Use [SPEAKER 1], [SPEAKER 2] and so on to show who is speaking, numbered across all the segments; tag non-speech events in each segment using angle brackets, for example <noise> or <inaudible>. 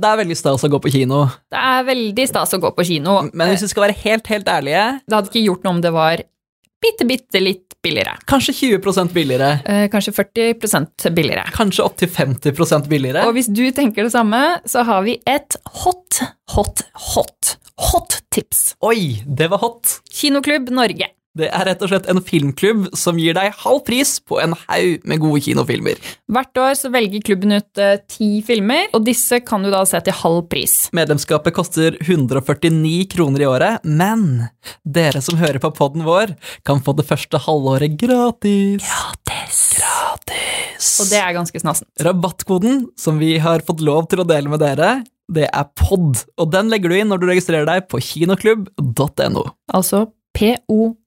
[SPEAKER 1] det er veldig stas å gå på kino.
[SPEAKER 2] Det er veldig stas å gå på kino.
[SPEAKER 1] Men hvis vi skal være helt, helt ærlige,
[SPEAKER 2] Det hadde ikke gjort noe om det var bitte, bitte litt billigere.
[SPEAKER 1] kanskje 20 billigere.
[SPEAKER 2] Eh, Kanskje 40 billigere.
[SPEAKER 1] Kanskje opptil 50 billigere.
[SPEAKER 2] Og hvis du tenker det samme, så har vi et hot, hot, hot, hot tips.
[SPEAKER 1] Oi, det var hot!
[SPEAKER 2] Kinoklubb Norge.
[SPEAKER 1] Det er rett og slett en filmklubb som gir deg halv pris på en haug med gode kinofilmer.
[SPEAKER 2] Hvert år så velger klubben ut eh, ti filmer, og disse kan du da se til halv pris.
[SPEAKER 1] Medlemskapet koster 149 kroner i året, men dere som hører på podden vår, kan få det første halvåret gratis. Gratis.
[SPEAKER 2] Og det er ganske snassent.
[SPEAKER 1] Rabattkoden som vi har fått lov til å dele med dere, det er POD, og den legger du inn når du registrerer deg på kinoklubb.no.
[SPEAKER 2] Altså POD.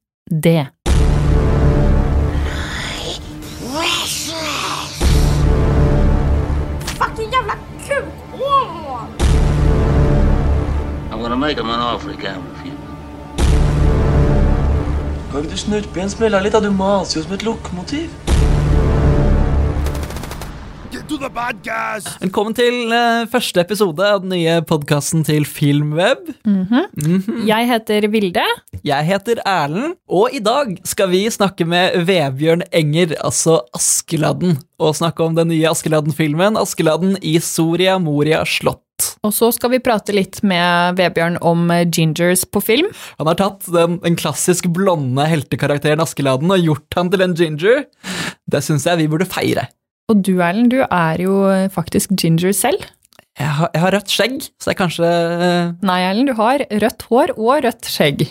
[SPEAKER 3] Fucking jävla kuk! Åh!
[SPEAKER 4] I'm gonna make him an offer he can't refuse.
[SPEAKER 5] Kan ikke du snurpe igjen smella litt? da? Du maser jo som et lokomotiv.
[SPEAKER 1] Velkommen til eh, første episode av den nye podkasten til Filmweb.
[SPEAKER 2] Jeg heter Vilde.
[SPEAKER 1] Jeg heter Erlend, og i dag skal vi snakke med Vebjørn Enger, altså Askeladden, og snakke om den nye Askeladden-filmen, Askeladden i Soria Moria slott.
[SPEAKER 2] Og så skal vi prate litt med Vebjørn om eh, gingers på film.
[SPEAKER 1] Han har tatt den, den klassisk blonde heltekarakteren Askeladden og gjort han til en ginger. Det syns jeg vi burde feire.
[SPEAKER 2] Og du, Erlend, du er jo eh, faktisk ginger selv.
[SPEAKER 1] Jeg har, jeg har rødt skjegg, så det er kanskje eh,
[SPEAKER 2] Nei, Erlend, du har rødt hår og rødt skjegg.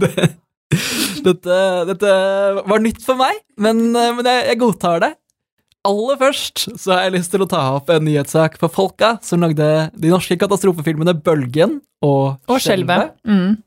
[SPEAKER 1] Dette, dette var nytt for meg, men, eh, men jeg, jeg godtar det. Aller først så har jeg lyst til å ta opp en nyhetssak for folka som lagde de norske katastrofefilmene Bølgen og,
[SPEAKER 2] Og skjelvet. Mm.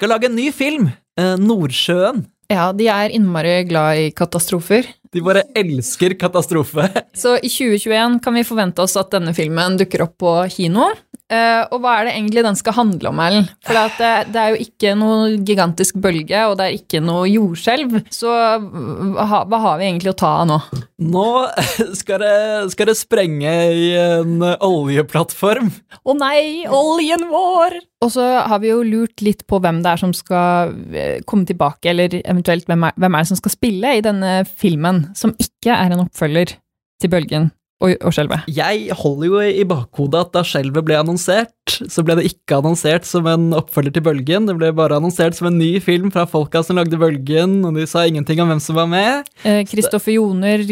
[SPEAKER 1] Skal lage en ny film, eh, Nordsjøen.
[SPEAKER 2] Ja, de er innmari glad i katastrofer.
[SPEAKER 1] De bare elsker katastrofe.
[SPEAKER 2] Så i 2021 kan vi forvente oss at denne filmen dukker opp på kino. Eh, og hva er det egentlig den skal handle om, Ellen? For at det, det er jo ikke noe gigantisk bølge, og det er ikke noe jordskjelv. Så hva, ha- hva har vi egentlig å ta av nå?
[SPEAKER 1] Nå <laughs> skal det, skal det sprenge i en oljeplattform.
[SPEAKER 2] Å nei, oljen vår! Og så har vi jo lurt litt på hvem det er som skal eh, komme tilbake, eller eventuelt hvem er, hvem er det som skal spille i denne filmen, som ikke er en oppfølger til Bølgen og, og Skjelvet.
[SPEAKER 1] Jeg holder jo i bakhodet at da skjelvet ble annonsert, så ble det ikke annonsert som en oppfølger til Bølgen, det ble bare annonsert som en ny film fra folka som lagde Bølgen, og de sa ingenting om hvem som var med.
[SPEAKER 2] Eh, Kristoffer Joner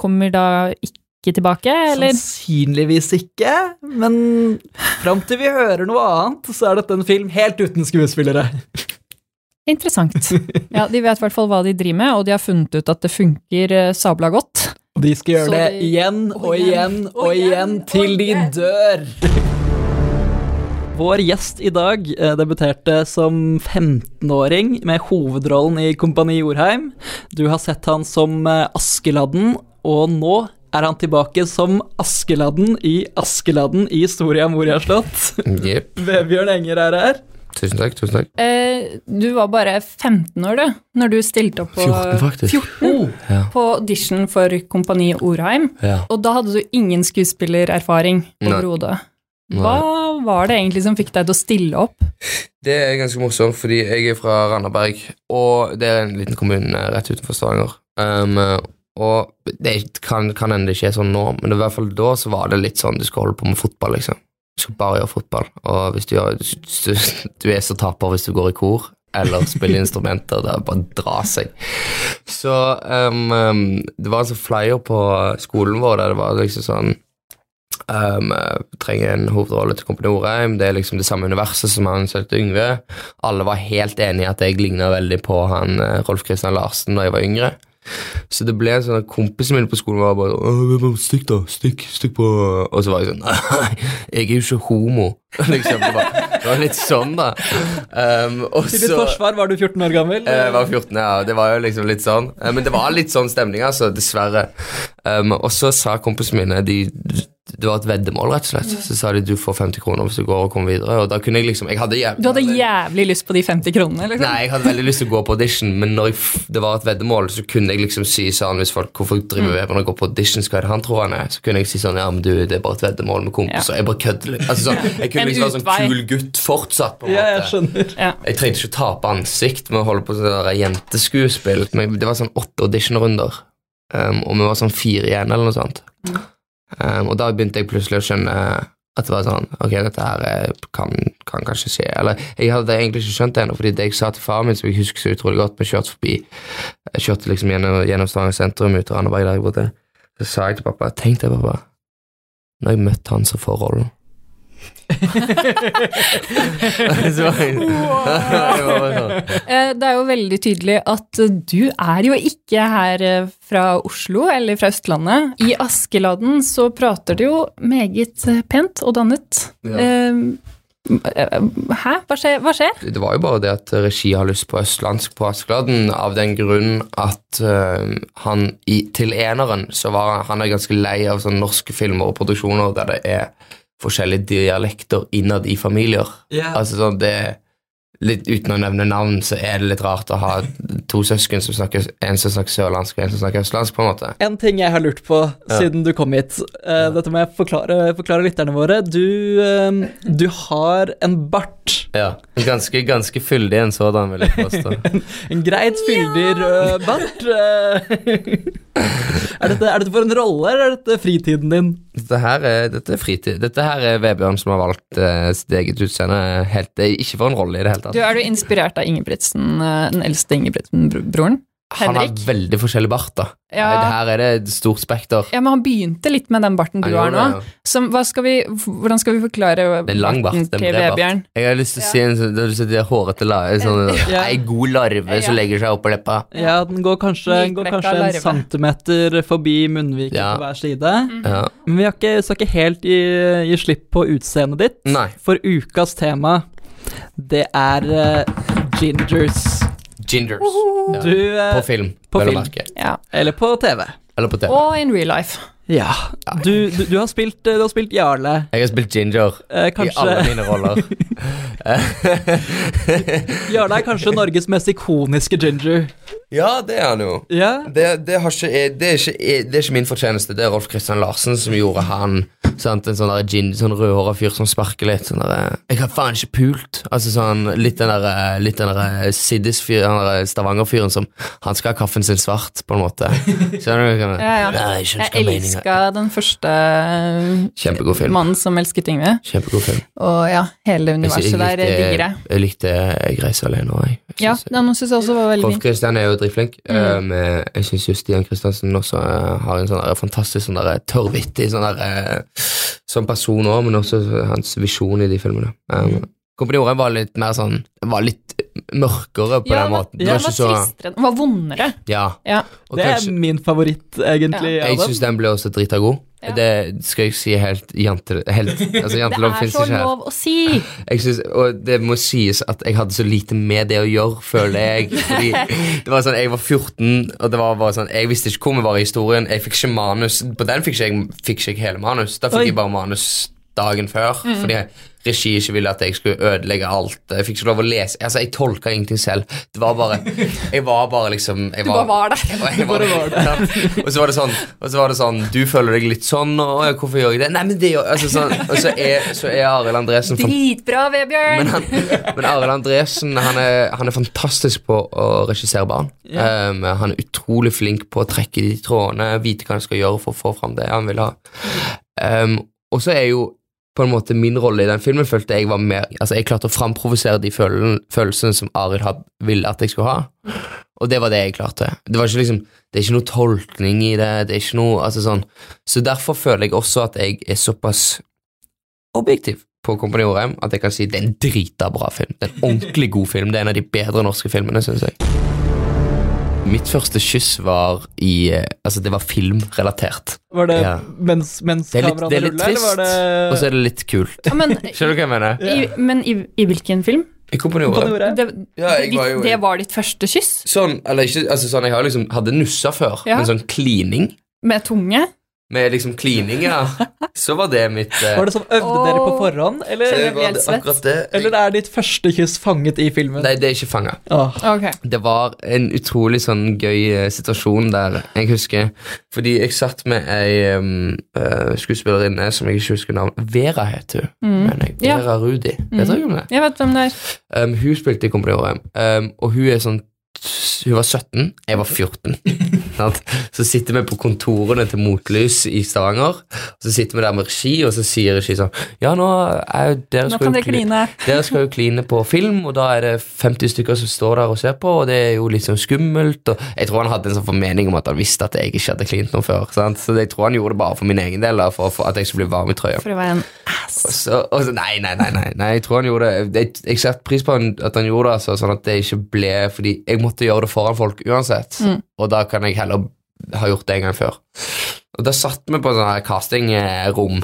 [SPEAKER 2] kommer da ikke tilbake, eller? <laughs>
[SPEAKER 1] Sannsynligvis ikke, men fram til vi hører noe annet, så er dette en film helt uten skuespillere.
[SPEAKER 2] Interessant. Ja, de vet i hvert fall hva de driver med, og de har funnet ut at det funker eh, sabla godt.
[SPEAKER 1] Og de skal
[SPEAKER 2] Så
[SPEAKER 1] gjøre det
[SPEAKER 2] de-
[SPEAKER 1] igjen og igjen og igjen til de dør. Vår gjest i dag eh, debuterte som 15-åring med hovedrollen i Kompani Jorheim. Du har sett han som eh, Askeladden, og nå er han tilbake som Askeladden i Askeladden i Storia Moria slott.
[SPEAKER 6] Jepp.
[SPEAKER 1] <laughs> Vebjørn Enger er her.
[SPEAKER 6] Tusen takk. tusen takk
[SPEAKER 2] Eh, du var bare 15 år, du, når du stilte opp på,
[SPEAKER 6] 14, faktisk.
[SPEAKER 2] 14, på audition for Kompani Orheim.
[SPEAKER 6] Ja.
[SPEAKER 2] Og da hadde du ingen skuespillererfaring
[SPEAKER 6] Nei.
[SPEAKER 2] overhodet.
[SPEAKER 6] Nei.
[SPEAKER 2] Hva var det egentlig som fikk deg til å stille opp?
[SPEAKER 6] Det er ganske morsomt, fordi jeg er fra Randaberg, og det er en liten kommune eh, rett utenfor Stavanger. Um, og det kan, kan hende det ikke er sånn nå, men i hvert fall da så var det litt sånn du skal holde på med fotball, liksom. Du skal bare gjøre fotball, og hvis du, gjør, du, du er så taper hvis du går i kor eller spiller instrumenter. Det er bare å dra seg. Så um, um, det var en sånn flyer på skolen vår der det var liksom sånn Um, eh, trenger en hovedrolle til Kompani Orheim. Det er liksom det samme universet som han søkte Yngve. Alle var helt enige i at jeg ligna veldig på han eh, Rolf Kristian Larsen da jeg var yngre. Så det ble en sånn at kompisen min på skolen var bare «Åh, hvem er det? Stikk, da. Stikk, stikk på Og så var jeg sånn Nei, jeg er jo ikke homo. <laughs> liksom, det var, det var litt sånn, da. Um, og
[SPEAKER 1] Til ditt
[SPEAKER 6] så-
[SPEAKER 1] forsvar var du 14 år gammel.
[SPEAKER 6] Eh, Jeg var 14, ja. Det var jo liksom litt sånn. Eh, Men det var litt sånn stemning, altså. Dessverre. Um, og så sa kompisene mine de, Det var et veddemål, rett og slett. Så sa de du får 50 kroner hvis du går og kommer videre. Og da kunne jeg liksom Jeg hadde jævlig
[SPEAKER 2] Du hadde jævlig lyst på de 50 kronene, liksom.
[SPEAKER 6] Nei, jeg hadde veldig lyst til å gå på audition, men når jeg, f- det var et veddemål, så kunne jeg liksom si sånn hvis folk, Hvorfor
[SPEAKER 2] Mm.
[SPEAKER 6] driver jeg med å gå på audition? Skal han tror han er? Så kunne jeg si sånn Ja, men du, det er bare et veddemål med kompiser. Jeg bare kødder litt. Altså, sånn, jeg
[SPEAKER 2] En
[SPEAKER 6] kunne liksom være sånn
[SPEAKER 2] utvei.
[SPEAKER 6] kul gutt fortsatt, på en
[SPEAKER 1] Ja, jeg
[SPEAKER 6] måte.
[SPEAKER 1] skjønner.
[SPEAKER 2] Ja.
[SPEAKER 6] Jeg trengte ikke å tape ansikt med å holde på sånn der jenteskuespill. Men det var sånn åtte auditionrunder, um, og vi var sånn fire igjen, eller noe sånt. Um, og da begynte jeg plutselig å skjønne at det var sånn Ok, dette her eh, kan, kan kanskje skje. Eller jeg hadde egentlig ikke skjønt det ennå, fordi det jeg sa til faren min, som jeg husker så utrolig godt, vi kjørte forbi Jeg kjørte liksom gjennom, gjennom Stavanger sentrum ut til Randaberg, der jeg bodde. Så sa jeg til pappa Tenk deg, pappa, når jeg møtte han som får rollen. <laughs> så var jeg, <laughs> jeg var bare sånn
[SPEAKER 2] Eh, Det er jo veldig tydelig at eh, du er jo ikke her eh, fra Oslo eller fra Østlandet. I Askeladden så prater du jo meget eh, pent og dannet.
[SPEAKER 6] Ja.
[SPEAKER 2] Eh, eh, Hæ? Hva skjer? Hva skjer?
[SPEAKER 6] det var jo bare det at regi har lyst på østlandsk på Askeladden, av den grunn at eh, han i, til eneren så var han- han er ganske lei av sånne norske filmer og produksjoner der det er forskjellige dialekter innad i familier.
[SPEAKER 1] Ja.
[SPEAKER 6] Altså sånn det litt Uten å nevne navn, så er det litt rart å ha to søsken som snakker en som snakker sørlandsk og en som snakker østlandsk, på en måte.
[SPEAKER 1] En ting jeg har lurt på siden du kom hit. Eh, Dette må jeg forklare, forklare lytterne våre. Du, eh, du har en bart.
[SPEAKER 6] Ja. Ganske, ganske fyldig en sådan, vil jeg påstå.
[SPEAKER 1] En greit fyldig rød bart. Eh, <laughs> er, dette, er dette for en rolle, eller er dette fritiden din?
[SPEAKER 6] Dette her er, dette er fritid. Dette her er Vebjørn som har valgt eh, sitt eget utseende. Helt, det er ikke for en rolle i det hele
[SPEAKER 2] Du,
[SPEAKER 6] tatt.
[SPEAKER 2] er du inspirert av Ingebrigtsen, eh, den eldste Ingebrigtsen-broren?
[SPEAKER 6] Han har
[SPEAKER 2] Henrik?
[SPEAKER 6] veldig forskjellig bart, da.
[SPEAKER 2] Ja.
[SPEAKER 6] Det her er det et stort spekter.
[SPEAKER 2] Ja, men han begynte litt med den barten du har
[SPEAKER 6] Han gjorde
[SPEAKER 2] nå.
[SPEAKER 6] det, ja.
[SPEAKER 2] Som, hva skal vi, hvordan skal vi forklare
[SPEAKER 6] Det er lang bart.
[SPEAKER 2] barten
[SPEAKER 6] Det er
[SPEAKER 2] til
[SPEAKER 6] bred bart.
[SPEAKER 2] Vebjørn?
[SPEAKER 6] Jeg har lyst til å si en sånn, det er sånn de hårete la, sånn,
[SPEAKER 2] <laughs>
[SPEAKER 1] Ja.
[SPEAKER 6] Ei god larve som legger seg oppå leppa.
[SPEAKER 1] Ja, den går kanskje, den går
[SPEAKER 2] Myk vekk av
[SPEAKER 1] kanskje en
[SPEAKER 2] larve.
[SPEAKER 1] centimeter forbi munnviken
[SPEAKER 6] Ja.
[SPEAKER 1] på hver side.
[SPEAKER 6] Ja.
[SPEAKER 1] Men vi har ikke, skal ikke helt gi, gi slipp på utseendet ditt,
[SPEAKER 6] Nei.
[SPEAKER 1] for ukas tema, det er eh, gingers.
[SPEAKER 6] Gingers. Ja.
[SPEAKER 1] Du eh,
[SPEAKER 6] På film,
[SPEAKER 1] på
[SPEAKER 6] vel å
[SPEAKER 1] film.
[SPEAKER 6] merke.
[SPEAKER 2] Ja.
[SPEAKER 1] Eller på TV.
[SPEAKER 6] Eller på TV.
[SPEAKER 2] Og in real life.
[SPEAKER 1] Ja. Du, du, du, har, spilt, eh, du har spilt Jarle.
[SPEAKER 6] Jeg har spilt ginger
[SPEAKER 1] Eh,
[SPEAKER 6] i alle
[SPEAKER 1] kanskje,
[SPEAKER 6] mine
[SPEAKER 2] <laughs>
[SPEAKER 6] roller.
[SPEAKER 1] <laughs> Jarle er kanskje Norges mest ikoniske ginger.
[SPEAKER 6] ja, det er han jo.
[SPEAKER 1] Ja,
[SPEAKER 6] det, det, har ikke, jeg- det, er ikke, jeg- det er ikke min fortjeneste. Det er Rolf Kristian Larsen som gjorde han sant? En sånn der gin, sånn rødhåra fyr som sparker litt. Sånn der, jeg har faen ikke pult. Altså sånn Litt den der, litt den der Siddis-fyr, han der eh, Stavanger-fyren som Han skal ha kaffen sin svart, på en måte. Skjønner du hva jeg mener?
[SPEAKER 2] Ja, ja.
[SPEAKER 6] Nei, jeg
[SPEAKER 2] Jeg
[SPEAKER 6] elsker meningen.
[SPEAKER 2] elska den første
[SPEAKER 6] Kjempegod film.
[SPEAKER 2] mannen som elsket Yngve.
[SPEAKER 6] Kjempegod film.
[SPEAKER 2] Og ja, hele
[SPEAKER 6] Jeg, sy-
[SPEAKER 2] universet der
[SPEAKER 6] jeg,
[SPEAKER 2] digger jeg.
[SPEAKER 6] likte, jeg likte Jeg reiser alene òg, jeg. jeg.
[SPEAKER 2] Ja,
[SPEAKER 6] synes-
[SPEAKER 2] den syns jeg også var veldig
[SPEAKER 6] Rolf
[SPEAKER 2] fin.
[SPEAKER 6] Kristian er jo dritflink. Um, eh, jeg syns jo Stian Kristiansen også eh, har en sånn der fantastisk sånn der, tørrvittig sånn der, eh, som person òg, men også hans visjon i de filmene. Um, Kompani Orheim var litt mer sånn var litt mørkere på
[SPEAKER 2] Ja,
[SPEAKER 6] den
[SPEAKER 2] den var-
[SPEAKER 6] måten. Det
[SPEAKER 1] ja,
[SPEAKER 2] Den
[SPEAKER 6] var
[SPEAKER 2] var
[SPEAKER 6] ikke så
[SPEAKER 2] tristere. Den var vondere.
[SPEAKER 6] Ja.
[SPEAKER 2] Ja.
[SPEAKER 6] Og
[SPEAKER 1] det er
[SPEAKER 6] kanskje,
[SPEAKER 1] min favoritt, egentlig. av
[SPEAKER 6] jeg
[SPEAKER 1] dem.
[SPEAKER 6] syns den ble også drita god.
[SPEAKER 2] Ja.
[SPEAKER 6] Det skal jeg si helt jante... Helt, altså,
[SPEAKER 2] Det
[SPEAKER 6] jantelov
[SPEAKER 2] er
[SPEAKER 6] fins
[SPEAKER 2] så
[SPEAKER 6] ikke her.
[SPEAKER 2] lov å si!
[SPEAKER 6] Jeg synes, og det må sies at jeg hadde så lite med det å gjøre, føler jeg.
[SPEAKER 2] <laughs>
[SPEAKER 6] Fordi det var sånn, Jeg var 14, og det var bare sånn, jeg visste ikke hvor vi var i historien. Jeg fikk ikke manus. På den fikk ikke jeg fikk ikke jeg hele manus. Da fikk
[SPEAKER 1] Oi.
[SPEAKER 6] jeg bare manus dagen før.
[SPEAKER 2] Mm.
[SPEAKER 6] Fordi regi ikke ville at jeg skulle ødelegge alt. Jeg fikk ikke lov å lese. Altså, Jeg tolka ingenting selv. Det var bare Jeg var bare liksom jeg
[SPEAKER 2] Du bare var der.
[SPEAKER 6] og, jeg var, <laughs> og så var det sånn Og så var det sånn Du føler deg litt sånn Og «Åja, hvorfor gjør jeg det? Nei, men det gjør altså, sånn, Og så er, så er Arild Andresen fan-
[SPEAKER 2] Dritbra,
[SPEAKER 6] Men,
[SPEAKER 2] Vebjørn!
[SPEAKER 6] han- men Arild Andresen han er, han er fantastisk på å regissere barn um, Han er utrolig flink på å trekke de trådene Vite hva han skal gjøre for å få fram det han vil ha um, Og så er jo på en måte min rolle i den filmen følte jeg var mer Altså jeg klarte å framprovosere de følel- følelsene som Arild had- ville at jeg skulle ha og det var det jeg klarte. Det var ikke liksom, det er ikke noe tolkning i det. det er ikke noe, altså sånn. Så derfor føler jeg også at jeg er såpass objektiv på Kompani Orheim at jeg kan si det er en drita bra film. Det er en ordentlig god film. Det er en av de bedre norske filmene, syns jeg. Mitt første kyss var i eh, Altså, det var filmrelatert.
[SPEAKER 1] Var det
[SPEAKER 6] Ja.
[SPEAKER 1] mens, mens
[SPEAKER 6] Det er litt, det
[SPEAKER 1] kameraene
[SPEAKER 6] er litt
[SPEAKER 1] ruller, eller
[SPEAKER 6] trist,
[SPEAKER 1] var det
[SPEAKER 6] og så er det litt kult.
[SPEAKER 2] Ja,
[SPEAKER 6] <laughs>
[SPEAKER 2] Men,
[SPEAKER 6] Skjønner du hva jeg mener?
[SPEAKER 2] i, men i, i hvilken film?
[SPEAKER 6] I Kompani
[SPEAKER 1] På det
[SPEAKER 6] Orheim.
[SPEAKER 1] ordet?
[SPEAKER 2] Det,
[SPEAKER 6] Ja, jeg var jo-
[SPEAKER 2] det var ditt første kyss?
[SPEAKER 6] Sånn, eller ikke, altså sånn, jeg har liksom, hadde nussa før,
[SPEAKER 2] Ja.
[SPEAKER 6] men sånn klining
[SPEAKER 2] Med tunge?
[SPEAKER 6] Med liksom klining,
[SPEAKER 1] <laughs>
[SPEAKER 6] ja. Så var det mitt eh,
[SPEAKER 1] Var det sånn, øvde dere på
[SPEAKER 2] Åh.
[SPEAKER 1] forhånd, eller,
[SPEAKER 6] det var
[SPEAKER 2] helt
[SPEAKER 6] det-
[SPEAKER 2] svett?
[SPEAKER 6] akkurat det.
[SPEAKER 1] eller er ditt første kyss fanget i filmen?
[SPEAKER 6] Nei, det er ikke fanga.
[SPEAKER 1] Åh.
[SPEAKER 2] Ok.
[SPEAKER 6] Det var en utrolig sånn gøy eh, situasjon der, jeg husker. Fordi jeg satt med ei um, eh, skuespillerinne som jeg ikke husker navnet Vera heter hun, mener jeg.
[SPEAKER 2] Mm. Ja. Mm.
[SPEAKER 6] Vera Rudi. Vet dere om det?
[SPEAKER 2] Jeg vet hvem det er.
[SPEAKER 6] Um, hun spilte i Kompani Årheim, um, og hun er sånn Hun var 17, jeg var <laughs> 14. sant? så sitter vi på kontorene til Motlys i Stavanger, og så sitter vi der med regi, og så sier regi sånn Ja, nå er jo- dere
[SPEAKER 2] Nå
[SPEAKER 6] skal
[SPEAKER 2] kan
[SPEAKER 6] jo
[SPEAKER 2] dere
[SPEAKER 6] kli-
[SPEAKER 2] kline.
[SPEAKER 6] dere skal jo kline på film, og da er det 50 stykker som står der og ser på, og det er jo litt sånn skummelt. Og jeg tror han hadde en sånn formening om at han visste at jeg ikke hadde klint noe før. Sant? Så jeg tror han gjorde det bare for min egen del, da, for, for at jeg skulle bli varm i trøya.
[SPEAKER 2] For å være en
[SPEAKER 6] Og
[SPEAKER 2] ass.
[SPEAKER 6] så, og så, nei, nei, nei, nei, nei, jeg tror han gjorde det. Jeg, jeg setter pris på han, at han gjorde det, altså, sånn at det ikke ble Fordi jeg måtte gjøre det foran folk uansett, og da kan jeg heller ha gjort det en gang før. Og da satt vi på sånn her castingrom,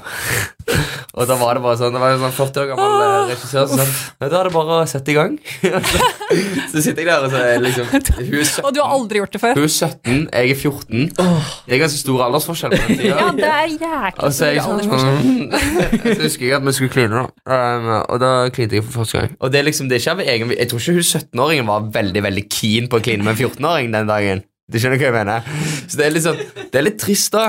[SPEAKER 6] <laughs> og da var det bare sånn Det var en sånn 40 år gammel eh, regissør som sa "Nei, Da er det bare å sette i gang. <laughs> så sitter jeg der, og så er jeg liksom Hun er 17,
[SPEAKER 2] Og du har aldri gjort det før?
[SPEAKER 6] hun er 17 jeg er 14. Det er ganske stor aldersforskjell på den tida.
[SPEAKER 2] Ja, det er jæklig
[SPEAKER 6] Og så er jeg sånn mm. <laughs> Så husker jeg at vi skulle kline, da. Um, og da klinte jeg for første gang. Og det er liksom, det er ikke av egen Jeg tror ikke hun 17-åringen var veldig veldig keen på å kline med en 14-åring den dagen. Du skjønner hva jeg mener? Så det er litt sånn Det er litt trist, da.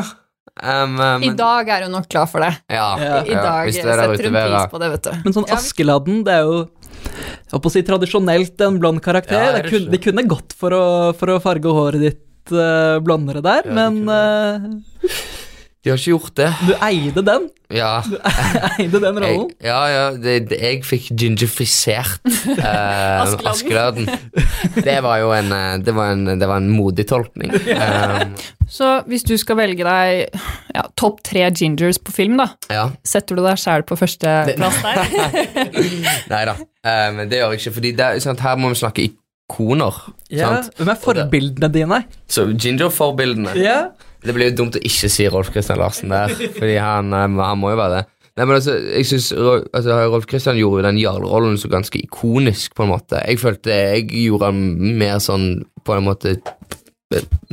[SPEAKER 6] Um, um,
[SPEAKER 2] I dag er hun nok klar for det.
[SPEAKER 6] ja,
[SPEAKER 1] Ja.
[SPEAKER 2] I dag
[SPEAKER 6] hvis det
[SPEAKER 2] setter
[SPEAKER 6] er der
[SPEAKER 2] hun
[SPEAKER 6] ute,
[SPEAKER 2] pris
[SPEAKER 6] Vera.
[SPEAKER 2] på det, vet du.
[SPEAKER 1] Men sånn
[SPEAKER 2] Ja, vi-
[SPEAKER 1] Askeladden, det er jo jeg holdt på å si tradisjonelt en blond karakter.
[SPEAKER 6] Ja, er
[SPEAKER 1] det
[SPEAKER 6] det
[SPEAKER 1] kunne,
[SPEAKER 6] ikke?
[SPEAKER 1] de kunne gått for å, for å farge håret ditt eh, blondere der,
[SPEAKER 6] Ja, de
[SPEAKER 1] men
[SPEAKER 6] De har ikke gjort det.
[SPEAKER 1] eh, du eide den. <laughs>
[SPEAKER 6] Ja,
[SPEAKER 1] Eide den
[SPEAKER 6] jeg,
[SPEAKER 1] rollen.
[SPEAKER 6] ja, ja det, det, jeg fikk
[SPEAKER 2] <laughs>
[SPEAKER 6] gingerfisert uh, Askeladden. Det var jo en, eh, det var en, det var en modig
[SPEAKER 2] <laughs>
[SPEAKER 6] tolkning. Um,
[SPEAKER 2] Så hvis du skal velge deg ja, topp tre gingers på film, da,
[SPEAKER 6] ja.
[SPEAKER 2] setter du deg sjæl på førsteplass der?
[SPEAKER 6] Nei da, Eh, men det gjør jeg ikke. Fordi det, er sant, her må vi snakke ikoner.
[SPEAKER 1] Ja.
[SPEAKER 6] Sant?
[SPEAKER 1] Hvem er forbildene dine?
[SPEAKER 6] Så Ginger-forbildene.
[SPEAKER 1] Ja.
[SPEAKER 6] Det blir jo dumt å ikke si Rolf Christian Larsen der, fordi han, eh, han må jo være det. Nei, men altså, jeg synes, Ro- altså, Rolf Christian gjorde jo den jarlerollen så ganske ikonisk, på en måte. Jeg følte jeg gjorde han mer sånn, på en måte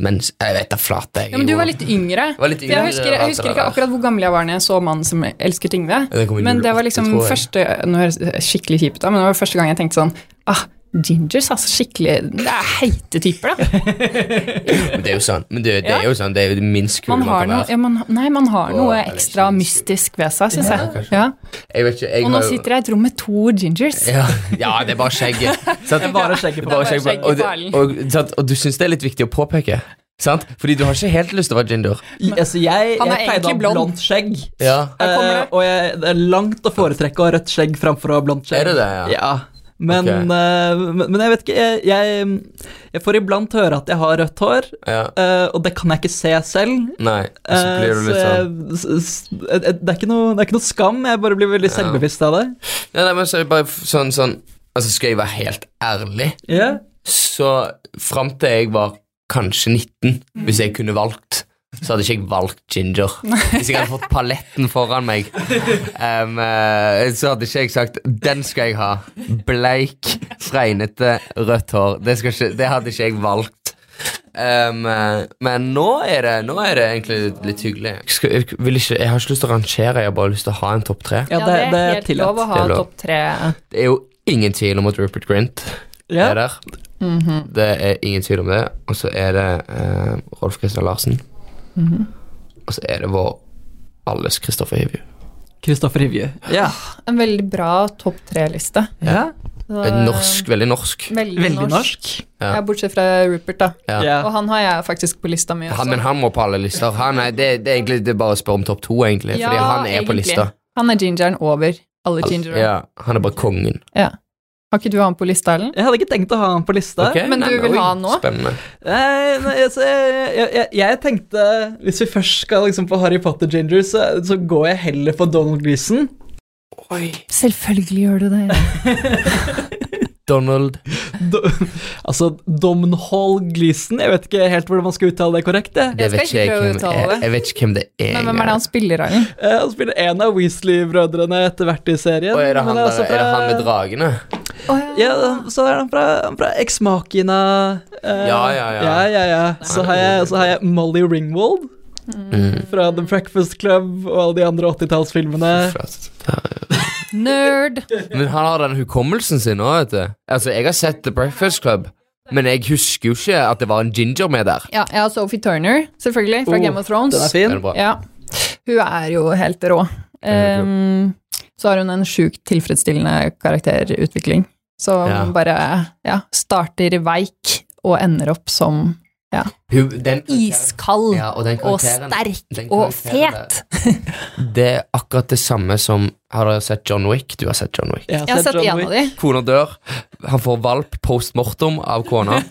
[SPEAKER 6] mens, Jeg vet da flate. jeg
[SPEAKER 2] Ja, men du
[SPEAKER 6] gjorde.
[SPEAKER 2] var litt yngre.
[SPEAKER 6] Jeg var litt
[SPEAKER 2] For Jeg
[SPEAKER 6] yngre, altså.
[SPEAKER 2] husker, jeg husker ikke akkurat hvor gammel jeg var når jeg så 'Mannen som elsker Yngve'.
[SPEAKER 6] Ja, det kom i
[SPEAKER 2] Men det var
[SPEAKER 6] 08,
[SPEAKER 2] liksom
[SPEAKER 6] tror jeg.
[SPEAKER 2] første Nå høres det skikkelig kjipt ut, men det var første gang jeg tenkte sånn ah, Gingers, altså skikkelig Det er heite typer, da.
[SPEAKER 6] <laughs> Men det er jo sånn. Men det, det
[SPEAKER 2] Ja.
[SPEAKER 6] er jo sånn, det er jo det minst kule
[SPEAKER 2] Man
[SPEAKER 6] man,
[SPEAKER 2] har
[SPEAKER 6] kan
[SPEAKER 2] noe,
[SPEAKER 6] være.
[SPEAKER 2] ja, man, nei, man har
[SPEAKER 6] Åh,
[SPEAKER 2] noe
[SPEAKER 6] er det
[SPEAKER 2] ekstra
[SPEAKER 6] ikke-
[SPEAKER 2] mystisk ved seg, syns jeg.
[SPEAKER 6] kanskje.
[SPEAKER 2] Ja.
[SPEAKER 6] Jeg vet ikke, jeg
[SPEAKER 2] Og nå
[SPEAKER 6] har jo-
[SPEAKER 2] sitter jeg i et rom med to gingers.
[SPEAKER 6] ja, ja, det er bare
[SPEAKER 2] <laughs>
[SPEAKER 6] skjegget. Sant?
[SPEAKER 1] Det er bare skjegget på
[SPEAKER 2] bare
[SPEAKER 1] deg.
[SPEAKER 2] skjegget.
[SPEAKER 6] og,
[SPEAKER 2] på
[SPEAKER 6] <laughs> det-
[SPEAKER 2] allen.
[SPEAKER 6] og, sant? og du syns det er litt viktig å påpeke. Sant? Fordi du har ikke helt lyst til å være ginger.
[SPEAKER 1] Altså, jeg, jeg
[SPEAKER 2] Han er
[SPEAKER 1] pleide å ha
[SPEAKER 2] egentlig blond.
[SPEAKER 1] blondt skjegg.
[SPEAKER 6] Ja.
[SPEAKER 2] Her kommer det.
[SPEAKER 1] Eh, og jeg, det er langt å foretrekke å ha rødt skjegg framfor å ha blondt skjegg.
[SPEAKER 6] Er det det, ja?
[SPEAKER 1] Men,
[SPEAKER 6] Ok.
[SPEAKER 1] eh, men, men jeg vet ikke jeg, jeg, jeg får iblant høre at jeg har rødt hår,
[SPEAKER 6] ja.
[SPEAKER 1] eh, og det kan jeg ikke se selv.
[SPEAKER 6] Nei, og så blir du
[SPEAKER 1] Eh,
[SPEAKER 6] litt sånn
[SPEAKER 1] jeg- s- s- eh, det, er ikke noe, det er ikke noe skam, jeg bare blir veldig selvbevisst av det.
[SPEAKER 6] ja, Nei, men så er det bare f- sånn, sånn Altså, skal jeg være helt ærlig,
[SPEAKER 1] Ja.
[SPEAKER 6] så fram til jeg var kanskje 19, hvis jeg kunne valgt så hadde ikke jeg valgt ginger. Hvis jeg hadde fått paletten foran meg, em, eh, så hadde ikke jeg sagt 'den skal jeg ha'. Bleik, fregnete, rødt hår. Det, skal ikke, det hadde ikke jeg valgt. Ehm, eh, men nå er, det, nå er det egentlig litt, litt hyggelig. Jeg, skal, jeg, vil ikke, jeg har ikke lyst til å rangere, jeg har bare lyst til å ha en topp tre.
[SPEAKER 1] Ja, det, det er
[SPEAKER 2] helt lov å
[SPEAKER 1] tillatt.
[SPEAKER 2] ha
[SPEAKER 6] Det er lov.
[SPEAKER 2] topp tre.
[SPEAKER 6] Det er jo ingen tvil om at Rupert Grint
[SPEAKER 1] Ja.
[SPEAKER 6] er der.
[SPEAKER 2] Mhm.
[SPEAKER 6] Det er ingen tvil om det. Og så er det eh, Rolf Christian Larsen.
[SPEAKER 2] Mhm.
[SPEAKER 6] Og så er det vår alles Kristoffer Hivju.
[SPEAKER 1] Kristoffer Hivju. Ja.
[SPEAKER 2] En veldig bra topp tre-liste.
[SPEAKER 1] ja.
[SPEAKER 2] Så-
[SPEAKER 6] Eh, Norsk, veldig norsk.
[SPEAKER 2] Veldig,
[SPEAKER 1] Veldig
[SPEAKER 2] norsk.
[SPEAKER 1] norsk.
[SPEAKER 6] Ja.
[SPEAKER 2] Ja, bortsett fra Rupert, da.
[SPEAKER 6] Ja.
[SPEAKER 2] Og
[SPEAKER 1] Ja.
[SPEAKER 2] han har jeg faktisk på lista mi. også.
[SPEAKER 6] Han, men han må på alle lister. Han er, det, det er egentlig det er bare å spørre om topp to, egentlig.
[SPEAKER 2] Ja,
[SPEAKER 6] fordi han er på
[SPEAKER 2] egentlig.
[SPEAKER 6] lista.
[SPEAKER 2] Han er gingeren over alle gingere.
[SPEAKER 6] Ja, han er bare kongen.
[SPEAKER 2] Har ikke du han på lista, Ellen?
[SPEAKER 1] Jeg hadde ikke tenkt å ha han på lista.
[SPEAKER 6] Ok,
[SPEAKER 2] Men
[SPEAKER 6] nei,
[SPEAKER 2] du
[SPEAKER 6] nei,
[SPEAKER 2] vil
[SPEAKER 6] oi,
[SPEAKER 2] ha han nå?
[SPEAKER 6] Spennende.
[SPEAKER 1] Nei, nei, altså, jeg, jeg, jeg, jeg tenkte Hvis vi først skal liksom på Harry Potter Ginger, så, så går jeg heller for Donald Gleeson.
[SPEAKER 2] Selvfølgelig gjør du det.
[SPEAKER 6] Donald
[SPEAKER 1] Do, altså Domhnall Gleeson Jeg vet ikke helt hvordan man skal uttale det korrekt. Jeg.
[SPEAKER 6] Jeg
[SPEAKER 2] skal
[SPEAKER 6] vet ikke,
[SPEAKER 2] ikke
[SPEAKER 6] jeg,
[SPEAKER 2] prøve å
[SPEAKER 6] hvem,
[SPEAKER 2] uttale
[SPEAKER 6] jeg,
[SPEAKER 2] det.
[SPEAKER 6] jeg vet ikke hvem det er.
[SPEAKER 2] Men hvem er det han spiller, Ellen?
[SPEAKER 1] Eh, Han spiller en av Weasley-brødrene etter hvert i serien.
[SPEAKER 6] Og er det
[SPEAKER 1] men
[SPEAKER 6] han, der,
[SPEAKER 1] altså
[SPEAKER 6] er det han
[SPEAKER 1] fra-
[SPEAKER 6] med dragene?
[SPEAKER 1] Ja, så er han fra, han fra eksmaken av eh,
[SPEAKER 6] Ja, ja, ja.
[SPEAKER 1] ja, ja, ja. Så, har jeg, så har jeg Molly Ringwald.
[SPEAKER 6] Mm.
[SPEAKER 1] Fra The Breakfast Club og alle de andre 80-tallsfilmene.
[SPEAKER 6] Flott. Ja, ja.
[SPEAKER 2] Nerd!
[SPEAKER 6] Men han har den hukommelsen sin òg, vet du. Altså, jeg har sett The Breakfast Club, men jeg husker jo ikke at det var en ginger med der.
[SPEAKER 2] Ja, jeg har Sophie Turner, selvfølgelig, fra
[SPEAKER 1] Oh,
[SPEAKER 2] Game of Thrones.
[SPEAKER 1] Den er
[SPEAKER 6] Er
[SPEAKER 1] fin.
[SPEAKER 6] det bra?
[SPEAKER 2] Ja. Hun er jo helt rå.
[SPEAKER 6] er helt
[SPEAKER 2] Ehm, så har hun en sjukt tilfredsstillende karakterutvikling. Som
[SPEAKER 6] Ja.
[SPEAKER 2] bare ja, starter veik og ender opp som
[SPEAKER 6] Hun, den,
[SPEAKER 2] iskald
[SPEAKER 6] Ja, og den
[SPEAKER 2] og
[SPEAKER 6] karakteren den
[SPEAKER 2] sterk og
[SPEAKER 6] karakteren der.
[SPEAKER 2] fet.
[SPEAKER 6] Det er akkurat det samme som Har dere sett John Wick? Du har sett John Wick.
[SPEAKER 2] Jeg har sett
[SPEAKER 1] John
[SPEAKER 2] en av
[SPEAKER 1] Wick.
[SPEAKER 2] de.
[SPEAKER 6] Kona dør, han får valp post mortem av
[SPEAKER 2] <laughs>
[SPEAKER 6] kona.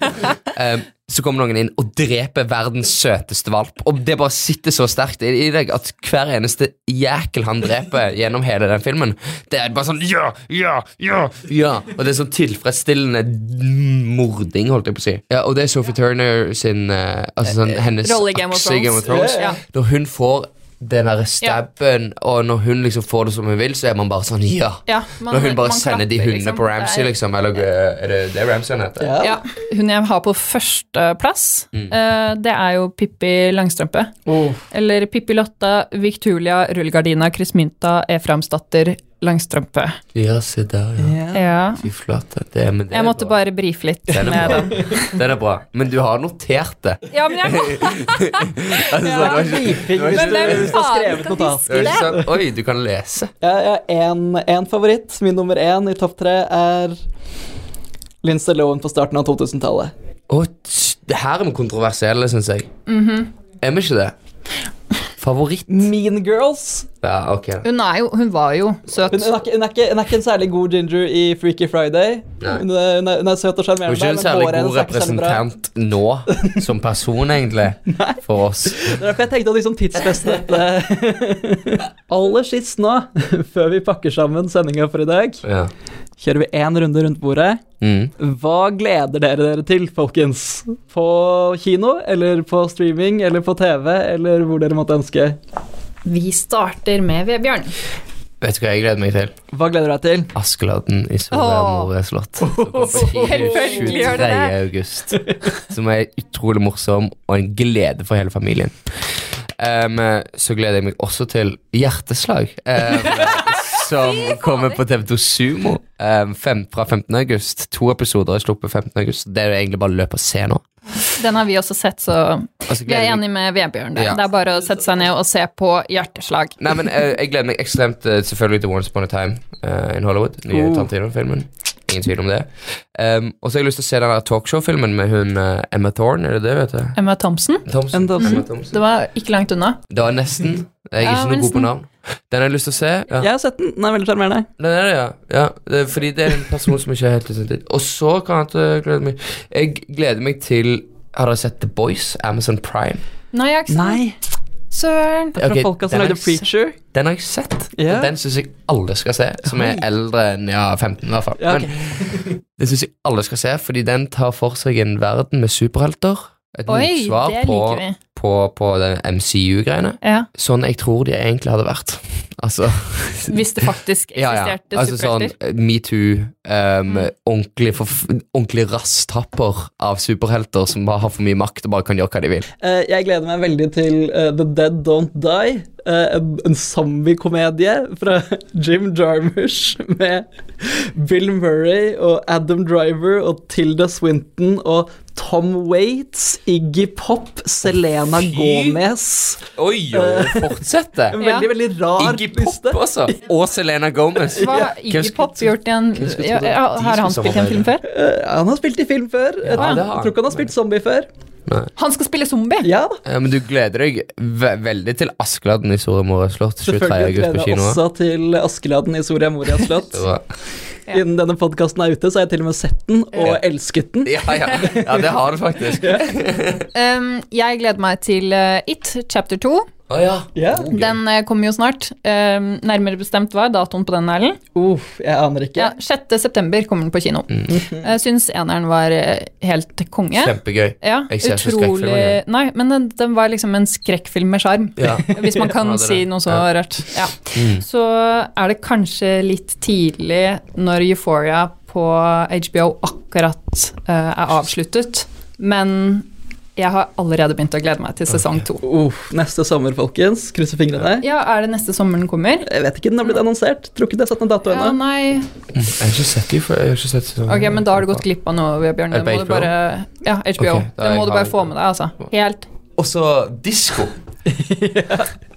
[SPEAKER 6] Em, så kommer noen inn og dreper verdens søteste valp. Og det bare sitter så sterkt i i deg at hver eneste jækel han dreper gjennom hele den filmen, det er bare sånn ja, ja, ja, ja. Og det er sånn tilfredsstillende mording, holdt jeg på å si. Ja, og det er Sophie Turner sin eh, Altså sånn hennes
[SPEAKER 2] Rolle i Game of
[SPEAKER 6] akse i Game of
[SPEAKER 2] Thrones.
[SPEAKER 6] Thrones.
[SPEAKER 2] Ja.
[SPEAKER 6] Når hun får den derre stabben, og når hun liksom får det som hun vil, så er man bare sånn ja.
[SPEAKER 2] Ja, man-
[SPEAKER 6] Når hun bare
[SPEAKER 2] man
[SPEAKER 6] sender de
[SPEAKER 2] klapper,
[SPEAKER 6] hundene
[SPEAKER 2] liksom.
[SPEAKER 6] på Ramsay,
[SPEAKER 2] Det er-
[SPEAKER 6] liksom. Eller eh, er det, det er Ramsay han heter?
[SPEAKER 1] Ja.
[SPEAKER 2] Ja, hun jeg har på førsteplass,
[SPEAKER 6] Mm.
[SPEAKER 2] eh, det er jo Pippi Langstrømpe.
[SPEAKER 1] Oh.
[SPEAKER 2] Eller Pippi Lotta, Victulia, Rullegardina, Krismynta, Eframsdatter, Langstrømpe.
[SPEAKER 6] Ja, se der,
[SPEAKER 1] Ja.
[SPEAKER 2] Ja.
[SPEAKER 6] Fy flate. Det, men det
[SPEAKER 2] Jeg
[SPEAKER 6] er
[SPEAKER 2] måtte
[SPEAKER 6] bra.
[SPEAKER 2] bare brife litt
[SPEAKER 6] Den
[SPEAKER 2] med <laughs>
[SPEAKER 6] er
[SPEAKER 2] den.
[SPEAKER 6] bra. <laughs> Den er bra. Men du har notert det.
[SPEAKER 2] Ja, men jeg
[SPEAKER 6] <laughs> Altså,
[SPEAKER 2] Ja.
[SPEAKER 6] det var ikke,
[SPEAKER 1] Drifing,
[SPEAKER 6] Men
[SPEAKER 1] hvis du-
[SPEAKER 2] hvem
[SPEAKER 1] hvis du har
[SPEAKER 2] faen
[SPEAKER 1] skrevet
[SPEAKER 2] skal
[SPEAKER 1] notat.
[SPEAKER 6] det var ikke sånn Oi, du kan lese.
[SPEAKER 1] Ja, Jeg har én favoritt. Min nummer én i topp tre er Lindsay Lohan på starten av 2000-tallet.
[SPEAKER 6] Å, tss, det her er vi kontroversielle, syns jeg.
[SPEAKER 2] Mhm.
[SPEAKER 6] Er vi ikke det? Favoritt?
[SPEAKER 1] Mean Girls.
[SPEAKER 6] Ja, ok. da.
[SPEAKER 2] Hun, er jo, hun var jo søt.
[SPEAKER 1] Hun, hun, er ikke, hun, er ikke, hun er ikke en særlig god ginger i Freaky Friday.
[SPEAKER 6] Nei.
[SPEAKER 1] Hun er, hun er, hun er søt og
[SPEAKER 6] Hun er
[SPEAKER 1] sjarmerende,
[SPEAKER 6] ikke en
[SPEAKER 1] men
[SPEAKER 6] særlig
[SPEAKER 1] håret hennes
[SPEAKER 6] god
[SPEAKER 1] er ikke særlig bra.
[SPEAKER 6] representant nå, som person, egentlig, <laughs> for oss.
[SPEAKER 1] Det er derfor jeg tenkte å liksom tidsfeste dette.
[SPEAKER 6] <laughs>
[SPEAKER 1] Aller sist nå, <laughs> før vi pakker sammen sendinga for i dag,
[SPEAKER 6] Ja.
[SPEAKER 1] kjører vi én runde rundt bordet.
[SPEAKER 6] Mm.
[SPEAKER 1] Hva gleder dere dere til, folkens? På kino, eller på streaming, eller på TV, eller hvor dere måtte ønske?
[SPEAKER 2] Vi starter med Vebjørn.
[SPEAKER 6] Vet du hva jeg gleder meg til?
[SPEAKER 1] Hva gleder du deg til?
[SPEAKER 6] Askeladden i Soria
[SPEAKER 2] Åh.
[SPEAKER 6] Moria slott. Så kommer
[SPEAKER 2] Selvfølgelig gjør det
[SPEAKER 6] 23. august. Som er utrolig morsom og en glede for hele familien. Em, så gleder jeg meg også til Hjerteslag, em,
[SPEAKER 2] <laughs>
[SPEAKER 6] som kommer på TV2 Sumo em, fem, fra 15. august. To episoder er sluppet 15. august. Det er det egentlig bare å løpe og se nå.
[SPEAKER 2] Den har vi også sett, så
[SPEAKER 6] Og så
[SPEAKER 2] vi er
[SPEAKER 6] gleder jeg meg-
[SPEAKER 2] enige med Vebjørn. der.
[SPEAKER 6] Ja.
[SPEAKER 2] Det er bare å sette seg ned og se på hjerteslag.
[SPEAKER 6] Nei, men eh, Jeg gleder meg ekstremt eh, selvfølgelig til Once Upon a Time eh, in Hollywood. Nye
[SPEAKER 2] Uh.
[SPEAKER 1] Oh.
[SPEAKER 6] Tarantino-filmen. Ingen tvil om det. Um, og så har jeg lyst til å se den der talkshow-filmen med hun eh, Emma Thorne. Er det det, vet du?
[SPEAKER 2] Emma Thompson.
[SPEAKER 6] Thompson.
[SPEAKER 1] Emma Thompson.
[SPEAKER 6] Emma
[SPEAKER 2] Det
[SPEAKER 6] Thompson.
[SPEAKER 2] var ikke langt unna.
[SPEAKER 6] Det var nesten. Jeg er
[SPEAKER 2] Ja,
[SPEAKER 6] ikke noe god
[SPEAKER 2] nesten.
[SPEAKER 6] på navn. Den har jeg lyst til å se. Ja.
[SPEAKER 1] Jeg har sett den. Den er veldig sjarmerende.
[SPEAKER 6] Den er det, ja. ja. Det, er- fordi det er en person som ikke er helt i sin tid. Og så kan jeg ikke glede meg Jeg gleder meg til Har dere sett The Boys? Amazon Prime.
[SPEAKER 2] Nei, jeg har ikke sånn.
[SPEAKER 1] Nei.
[SPEAKER 2] Søren.
[SPEAKER 1] Det er fra
[SPEAKER 6] Ok,
[SPEAKER 1] folka som
[SPEAKER 6] den er
[SPEAKER 1] lagde
[SPEAKER 6] ikke s-
[SPEAKER 1] Preacher.
[SPEAKER 6] Den har jeg sett.
[SPEAKER 1] Ja.
[SPEAKER 6] Og Den syns jeg alle skal se, som er eldre enn ja, 15, i hvert fall.
[SPEAKER 1] Ja, ok.
[SPEAKER 6] Men det syns jeg alle skal se, fordi den tar for seg en verden med superhelter. Et
[SPEAKER 2] Oi,
[SPEAKER 6] motsvar
[SPEAKER 2] det
[SPEAKER 6] på,
[SPEAKER 2] liker vi.
[SPEAKER 6] på, på den MCU-greiene.
[SPEAKER 2] Ja,
[SPEAKER 6] Sånn jeg tror de egentlig hadde vært. <laughs> Altså
[SPEAKER 2] Hvis det faktisk
[SPEAKER 6] ja, ja.
[SPEAKER 2] eksisterte
[SPEAKER 6] Altså sånn
[SPEAKER 2] superhelter. Mm.
[SPEAKER 6] metoo, um, ordentlig, forf- ordentlig rasthapper av superhelter som bare har for mye makt og bare kan gjøre hva de vil.
[SPEAKER 1] Eh, jeg gleder meg veldig til eh, The Dead Don't Die. eh, en en zombiekomedie fra <laughs> Jim Jarmusch med Bill Murray og Adam Driver og Tilda Swinton og Tom Waits, Iggy Pop, Selena
[SPEAKER 6] Fy.
[SPEAKER 1] Gomez.
[SPEAKER 6] Oi, oi, fortsett det!
[SPEAKER 1] En
[SPEAKER 2] <laughs> Ja.
[SPEAKER 1] veldig, veldig rar
[SPEAKER 6] Eh, Iggy Pop,
[SPEAKER 1] liste.
[SPEAKER 6] altså. Og Selena Gomez.
[SPEAKER 2] Hva har
[SPEAKER 6] Hvem
[SPEAKER 2] Iggy
[SPEAKER 6] skulle
[SPEAKER 2] Pop
[SPEAKER 6] tro-
[SPEAKER 2] gjort i en
[SPEAKER 6] hvem skulle
[SPEAKER 2] ja,
[SPEAKER 6] tro det?
[SPEAKER 2] ja,
[SPEAKER 6] De
[SPEAKER 2] Har han
[SPEAKER 6] skulle
[SPEAKER 2] spilt i en film
[SPEAKER 6] samarbeide.
[SPEAKER 2] før?
[SPEAKER 1] Eh, han har spilt i film før. Jeg tror-
[SPEAKER 6] det har han.
[SPEAKER 1] jeg tror ikke han har spilt zombie før.
[SPEAKER 2] Han skal spille zombie!
[SPEAKER 1] Ja da.
[SPEAKER 6] Ja, men du gleder deg ve veldig til Askeladden i Soria Moria slott 23.
[SPEAKER 1] Selvfølgelig
[SPEAKER 6] august
[SPEAKER 1] gleder
[SPEAKER 6] på
[SPEAKER 1] jeg
[SPEAKER 6] kino.
[SPEAKER 1] meg også til Askeladden i Soria Moria
[SPEAKER 6] <laughs>
[SPEAKER 1] slott.
[SPEAKER 6] Så-
[SPEAKER 2] Ja.
[SPEAKER 1] Innen denne podkasten er ute, så har jeg til og med sett den og elsket den.
[SPEAKER 6] Ja, ja, ja, det har du faktisk. Å
[SPEAKER 2] Um, jeg gleder meg til eh, It, chapter 2.
[SPEAKER 6] ja.
[SPEAKER 1] Ja.
[SPEAKER 6] Ok.
[SPEAKER 2] Den eh, kommer jo snart. Um, nærmere bestemt hva er datoen på den, Erlend?
[SPEAKER 1] Uff, jeg aner ikke.
[SPEAKER 2] Ja, 6. september kommer den på kino.
[SPEAKER 6] Mm.
[SPEAKER 2] Jeg syns eneren var eh, helt konge.
[SPEAKER 6] Kjempegøy.
[SPEAKER 2] Ja,
[SPEAKER 6] Jeg ser ikke skrekkfilmer
[SPEAKER 2] utrolig
[SPEAKER 6] engang.
[SPEAKER 2] Nei, men den, den var liksom en skrekkfilm med sjarm. <laughs>
[SPEAKER 6] Ja. Mm.
[SPEAKER 2] Hvis
[SPEAKER 6] <laughs>
[SPEAKER 2] man kan
[SPEAKER 6] Ja, det er
[SPEAKER 2] si
[SPEAKER 6] det.
[SPEAKER 2] noe så
[SPEAKER 6] Ja.
[SPEAKER 2] rørt. Ja. Så er det kanskje litt tidlig når Euphoria på HBO akkurat eh, er avsluttet, men Jeg har allerede begynt å glede meg til sesong to.
[SPEAKER 1] Uff, neste sommer, folkens. Krysser fingrene.
[SPEAKER 2] Ja, Er det neste sommer den kommer?
[SPEAKER 1] Jeg vet ikke, den har blitt annonsert. Tror ikke de har satt en dato
[SPEAKER 2] Ja,
[SPEAKER 1] ennå.
[SPEAKER 2] nei
[SPEAKER 6] Jeg har ikke sett de før. Jeg har ikke sett
[SPEAKER 2] Ok, men da har du gått glipp av noe, Bjørn. Det
[SPEAKER 6] Er det
[SPEAKER 2] må du
[SPEAKER 6] på HBO?
[SPEAKER 2] bare Ja, HBO.
[SPEAKER 6] Ok, da
[SPEAKER 2] det må
[SPEAKER 6] jeg
[SPEAKER 2] du
[SPEAKER 6] har-
[SPEAKER 2] bare få med deg, altså. Helt.
[SPEAKER 6] Og så disko.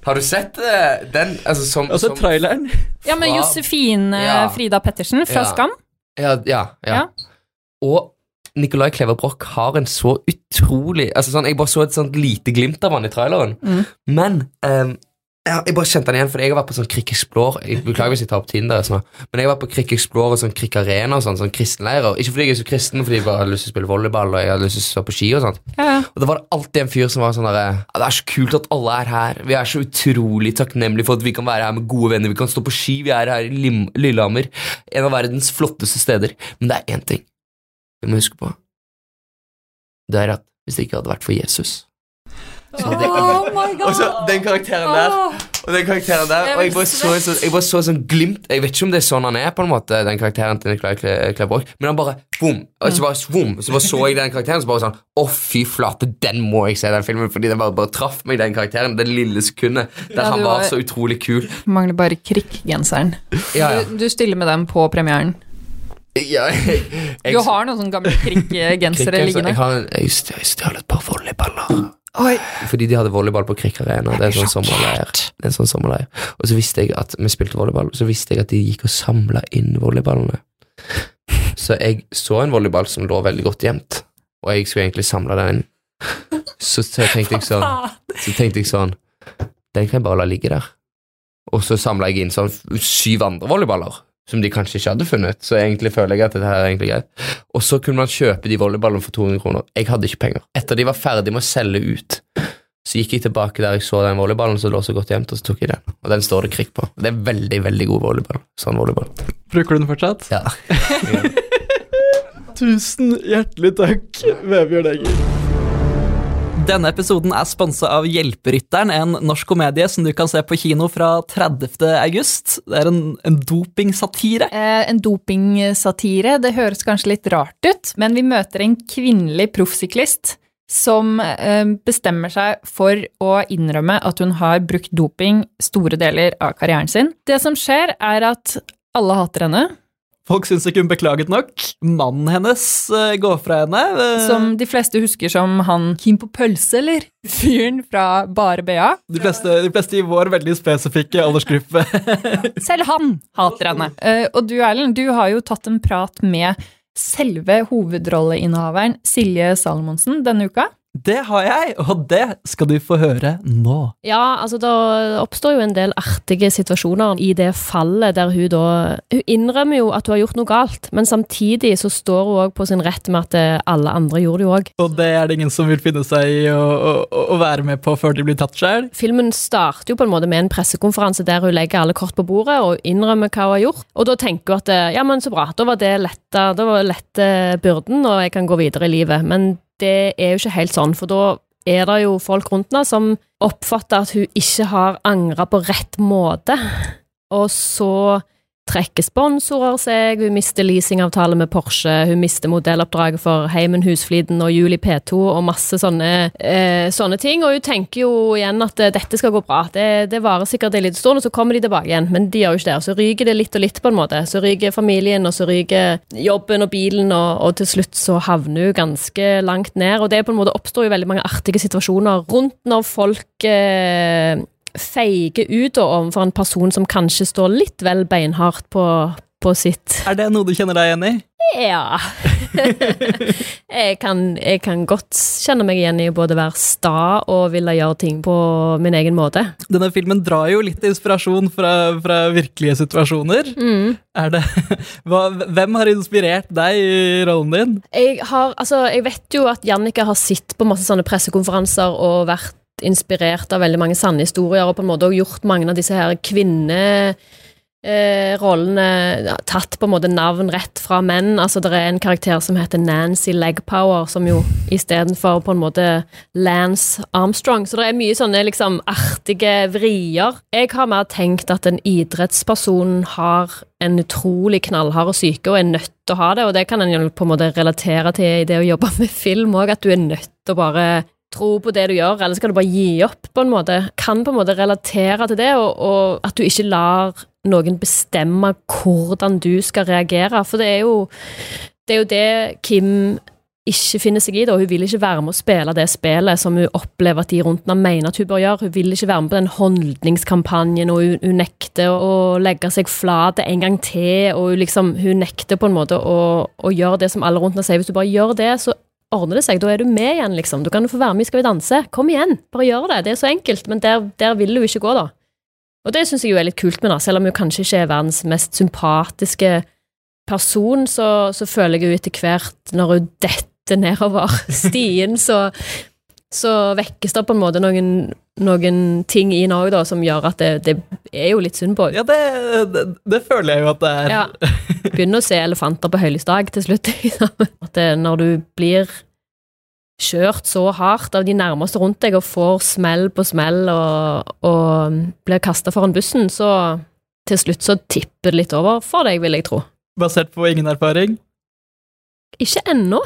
[SPEAKER 6] Har du sett eh, den? Altså, som,
[SPEAKER 1] Og så
[SPEAKER 6] som
[SPEAKER 1] traileren.
[SPEAKER 2] Ja, men
[SPEAKER 6] fra-
[SPEAKER 2] Josefine
[SPEAKER 6] Ja.
[SPEAKER 2] Frida Pettersen fra
[SPEAKER 6] Ja.
[SPEAKER 2] Skam.
[SPEAKER 6] Ja, ja, ja.
[SPEAKER 2] Ja.
[SPEAKER 6] Og Nicolai Klever Broch har en så utrolig altså sånn, Jeg bare så et sånt lite glimt av han i traileren.
[SPEAKER 2] Mm.
[SPEAKER 6] Men eh, ja, jeg bare kjente han igjen, for jeg har vært på sånn Krik Explore. Jeg beklager hvis jeg tar opp tiden deres nå, men jeg har vært på Krik Explore og sånn Krik Arena og sånn, sånn kristenleirer. Ikke fordi jeg er så kristen, fordi jeg bare hadde lyst til å spille volleyball og jeg hadde lyst til å stå på ski og sånn. sånt.
[SPEAKER 2] Ja, ja.
[SPEAKER 6] Og da var det alltid en fyr som var sånn der, Det er så kult at alle er her. Vi er så utrolig takknemlige for at vi kan være her med gode venner. Vi kan stå på ski. Vi er her i Lim Lillehammer. En av verdens flotteste steder. Men det er én ting vi må huske på. Det er at hvis det ikke hadde vært for Jesus så hadde jeg aldri-
[SPEAKER 2] Oh my
[SPEAKER 6] Og så den karakteren der. Og den karakteren der
[SPEAKER 2] Jeg
[SPEAKER 6] Og jeg
[SPEAKER 2] blir
[SPEAKER 6] bare så en sånn, jeg bare så en sånn glimt Jeg vet ikke om det er sånn han er, på en måte den karakteren til Nicolai Kle- Kleberg. Men han bare boom! Og så bare boom! Så bare så jeg den karakteren, så bare sånn Å, fy flate, den må jeg se, den filmen! Fordi den bare, bare traff meg, den karakteren, det lille sekundet der
[SPEAKER 2] Ja,
[SPEAKER 6] han
[SPEAKER 2] du
[SPEAKER 6] var
[SPEAKER 2] var-
[SPEAKER 6] så utrolig kul.
[SPEAKER 2] Mangler bare krikkgenseren.
[SPEAKER 6] Ja, <laughs> ja.
[SPEAKER 2] Du, du stiller med den på premieren.
[SPEAKER 6] ja jeg, jeg,
[SPEAKER 2] Du har noen sånne
[SPEAKER 6] <laughs>
[SPEAKER 2] gamle krikkgensere
[SPEAKER 6] Krikken, så- Jeg,
[SPEAKER 2] liggende.
[SPEAKER 6] har en- jeg stj- jeg stjal et par volleyballer.
[SPEAKER 2] Oi,
[SPEAKER 6] Fordi de hadde volleyball på Krik Arena. Det er en sånn sommerleir. Det er en sånn sommerleir. Og så visste jeg at vi spilte volleyball, og så visste jeg at de gikk og samla inn volleyballene. Så jeg så en volleyball som lå veldig godt gjemt, og jeg skulle egentlig samle den inn. Så, så tenkte jeg sånn Så tenkte jeg sånn Den kan jeg bare la ligge der. Og så samla jeg inn sånn syv andre volleyballer. Som de kanskje ikke hadde funnet. Så egentlig føler jeg at dette her er egentlig greit. Og så kunne man kjøpe de volleyballene for 200 kroner. Jeg hadde ikke penger. Etter de var ferdig med å selge ut, så gikk jeg tilbake der jeg så den volleyballen som lå så godt gjemt, og så tok jeg den. Og den står det krig på. Det er veldig, veldig god volleyball. Sånn volleyball.
[SPEAKER 1] Bruker du den fortsatt?
[SPEAKER 6] Ja.
[SPEAKER 1] Tusen hjertelig takk, Vebjørn Enger. Denne episoden er sponsa av Hjelperytteren, en norsk komedie som du kan se på kino fra 30. august. Det er en, en dopingsatire.
[SPEAKER 2] Eh, en dopingsatire. Det høres kanskje litt rart ut, men vi møter en kvinnelig proffsyklist som eh, bestemmer seg for å innrømme at hun har brukt doping store deler av karrieren sin. Det som skjer, er at alle hater henne,
[SPEAKER 1] Folk syns ikke hun beklaget nok. Mannen hennes eh, går fra henne. eh,
[SPEAKER 2] som de fleste husker som han Kim på pølse, eller? Fyren fra Bare BA.
[SPEAKER 1] de, fleste, de fleste i vår veldig spesifikke aldersgruppe.
[SPEAKER 2] Selv han hater henne. Eh, og du, Erlend, du har jo tatt en prat med selve hovedrolleinnehaveren Silje Salomonsen denne uka.
[SPEAKER 1] Det har jeg, og det skal du få høre nå.
[SPEAKER 7] Ja, altså det oppstår jo en del artige situasjoner i det fallet der hun da Hun innrømmer jo at hun har gjort noe galt, men samtidig så står hun òg på sin rett med at eh, alle andre gjorde det jo òg.
[SPEAKER 1] Og det er det ingen som vil finne seg i å, å, å være med på før de blir tatt sjøl.
[SPEAKER 7] Filmen starter jo på en måte med en pressekonferanse der hun legger alle kort på bordet og innrømmer hva hun har gjort. Og da tenker hun at eh, ja, men så bra, da var det letta, da var lette byrden, og jeg kan gå videre i livet. Men det er jo ikke helt sånn, for da er det jo folk rundt henne som oppfatter at hun ikke har angra på rett måte. Og så trekker sponsorer seg, hun mister leasingavtale med Porsche, hun mister modelloppdraget for Heimen Husfliden og Juli P2 og masse sånne, eh, sånne ting. Og hun tenker jo igjen at eh, dette skal gå bra, det, det varer sikkert en liten stund, og så kommer de tilbake igjen. Men de gjør jo ikke det. og Så ryker det litt og litt, på en måte. Så ryker familien, og så ryker jobben og bilen, og, og til slutt så havner hun ganske langt ned. Og det er på en måte oppstår jo veldig mange artige situasjoner rundt når folk eh, feige ut da overfor en person som kanskje står litt vel beinhardt på, på sitt
[SPEAKER 1] Er det noe du kjenner deg igjen i?
[SPEAKER 7] Ja. jeg, kan, jeg kan godt kjenne meg igjen i både være sta og ville gjøre ting på min egen måte.
[SPEAKER 1] Denne filmen drar jo litt inspirasjon fra, fra virkelige situasjoner. Er det, <laughs> hva, hvem har inspirert deg i rollen din?
[SPEAKER 7] Jeg, har, altså, jeg vet jo at Jannicke har sittet på masse sånne pressekonferanser og vært inspirert av veldig mange sanne historier og på en måte også gjort mange av disse her kvinne eh, rollene ja, tatt på en måte navn rett fra menn. Altså Det er en karakter som heter Nancy Legpower, som jo istedenfor på en måte Lance Armstrong. Så det er mye sånne liksom artige vrier. Jeg har mer tenkt at en idrettsperson har en utrolig knallhard syke og er nødt til å ha det, og det kan en jo på en måte relatere til i det å jobbe med film òg, at du er nødt til å bare tro på det du gjør, eller skal du bare gi opp, på en måte. Kan på en måte relatere til det, og, og at du ikke lar noen bestemme hvordan du skal reagere. For det er jo det, er jo det Kim ikke finner seg i det, og hun vil ikke være med å spille det spillet som hun opplever at de rundt henne mener at hun bør gjøre. Hun vil ikke være med på den holdningskampanjen, og hun, hun nekter å legge seg flat en gang til, og hun, liksom, hun nekter på en måte å, å gjøre det som alle rundt henne sier. Hvis du bare gjør det, så ordner det seg. Da er du med igjen, liksom. Du kan jo få være med i Skal vi danse. Kom igjen, bare gjør det. Det er så enkelt. Men der, der vil hun ikke gå, da. Og det syns jeg jo er litt kult med henne. Selv om hun kanskje ikke er verdens mest sympatiske person, så, så føler jeg jo etter hvert, når hun detter nedover <laughs> stien, så, så vekkes det på en måte noen, noen ting i henne òg, da, som gjør at det, det er jo litt synd på
[SPEAKER 1] Ja,
[SPEAKER 7] henne.
[SPEAKER 1] det, det, det føler jeg jo at det er.
[SPEAKER 7] Ja. Begynner å se elefanter på høylys dag til slutt. <laughs> liksom. At det, når du blir kjørt så hardt av de nærmeste rundt deg og får smell på smell og, og um, blir kasta foran bussen, så til slutt så tipper det litt over for deg, vil jeg tro.
[SPEAKER 1] Basert på ingen erfaring.
[SPEAKER 7] Ikke ennå.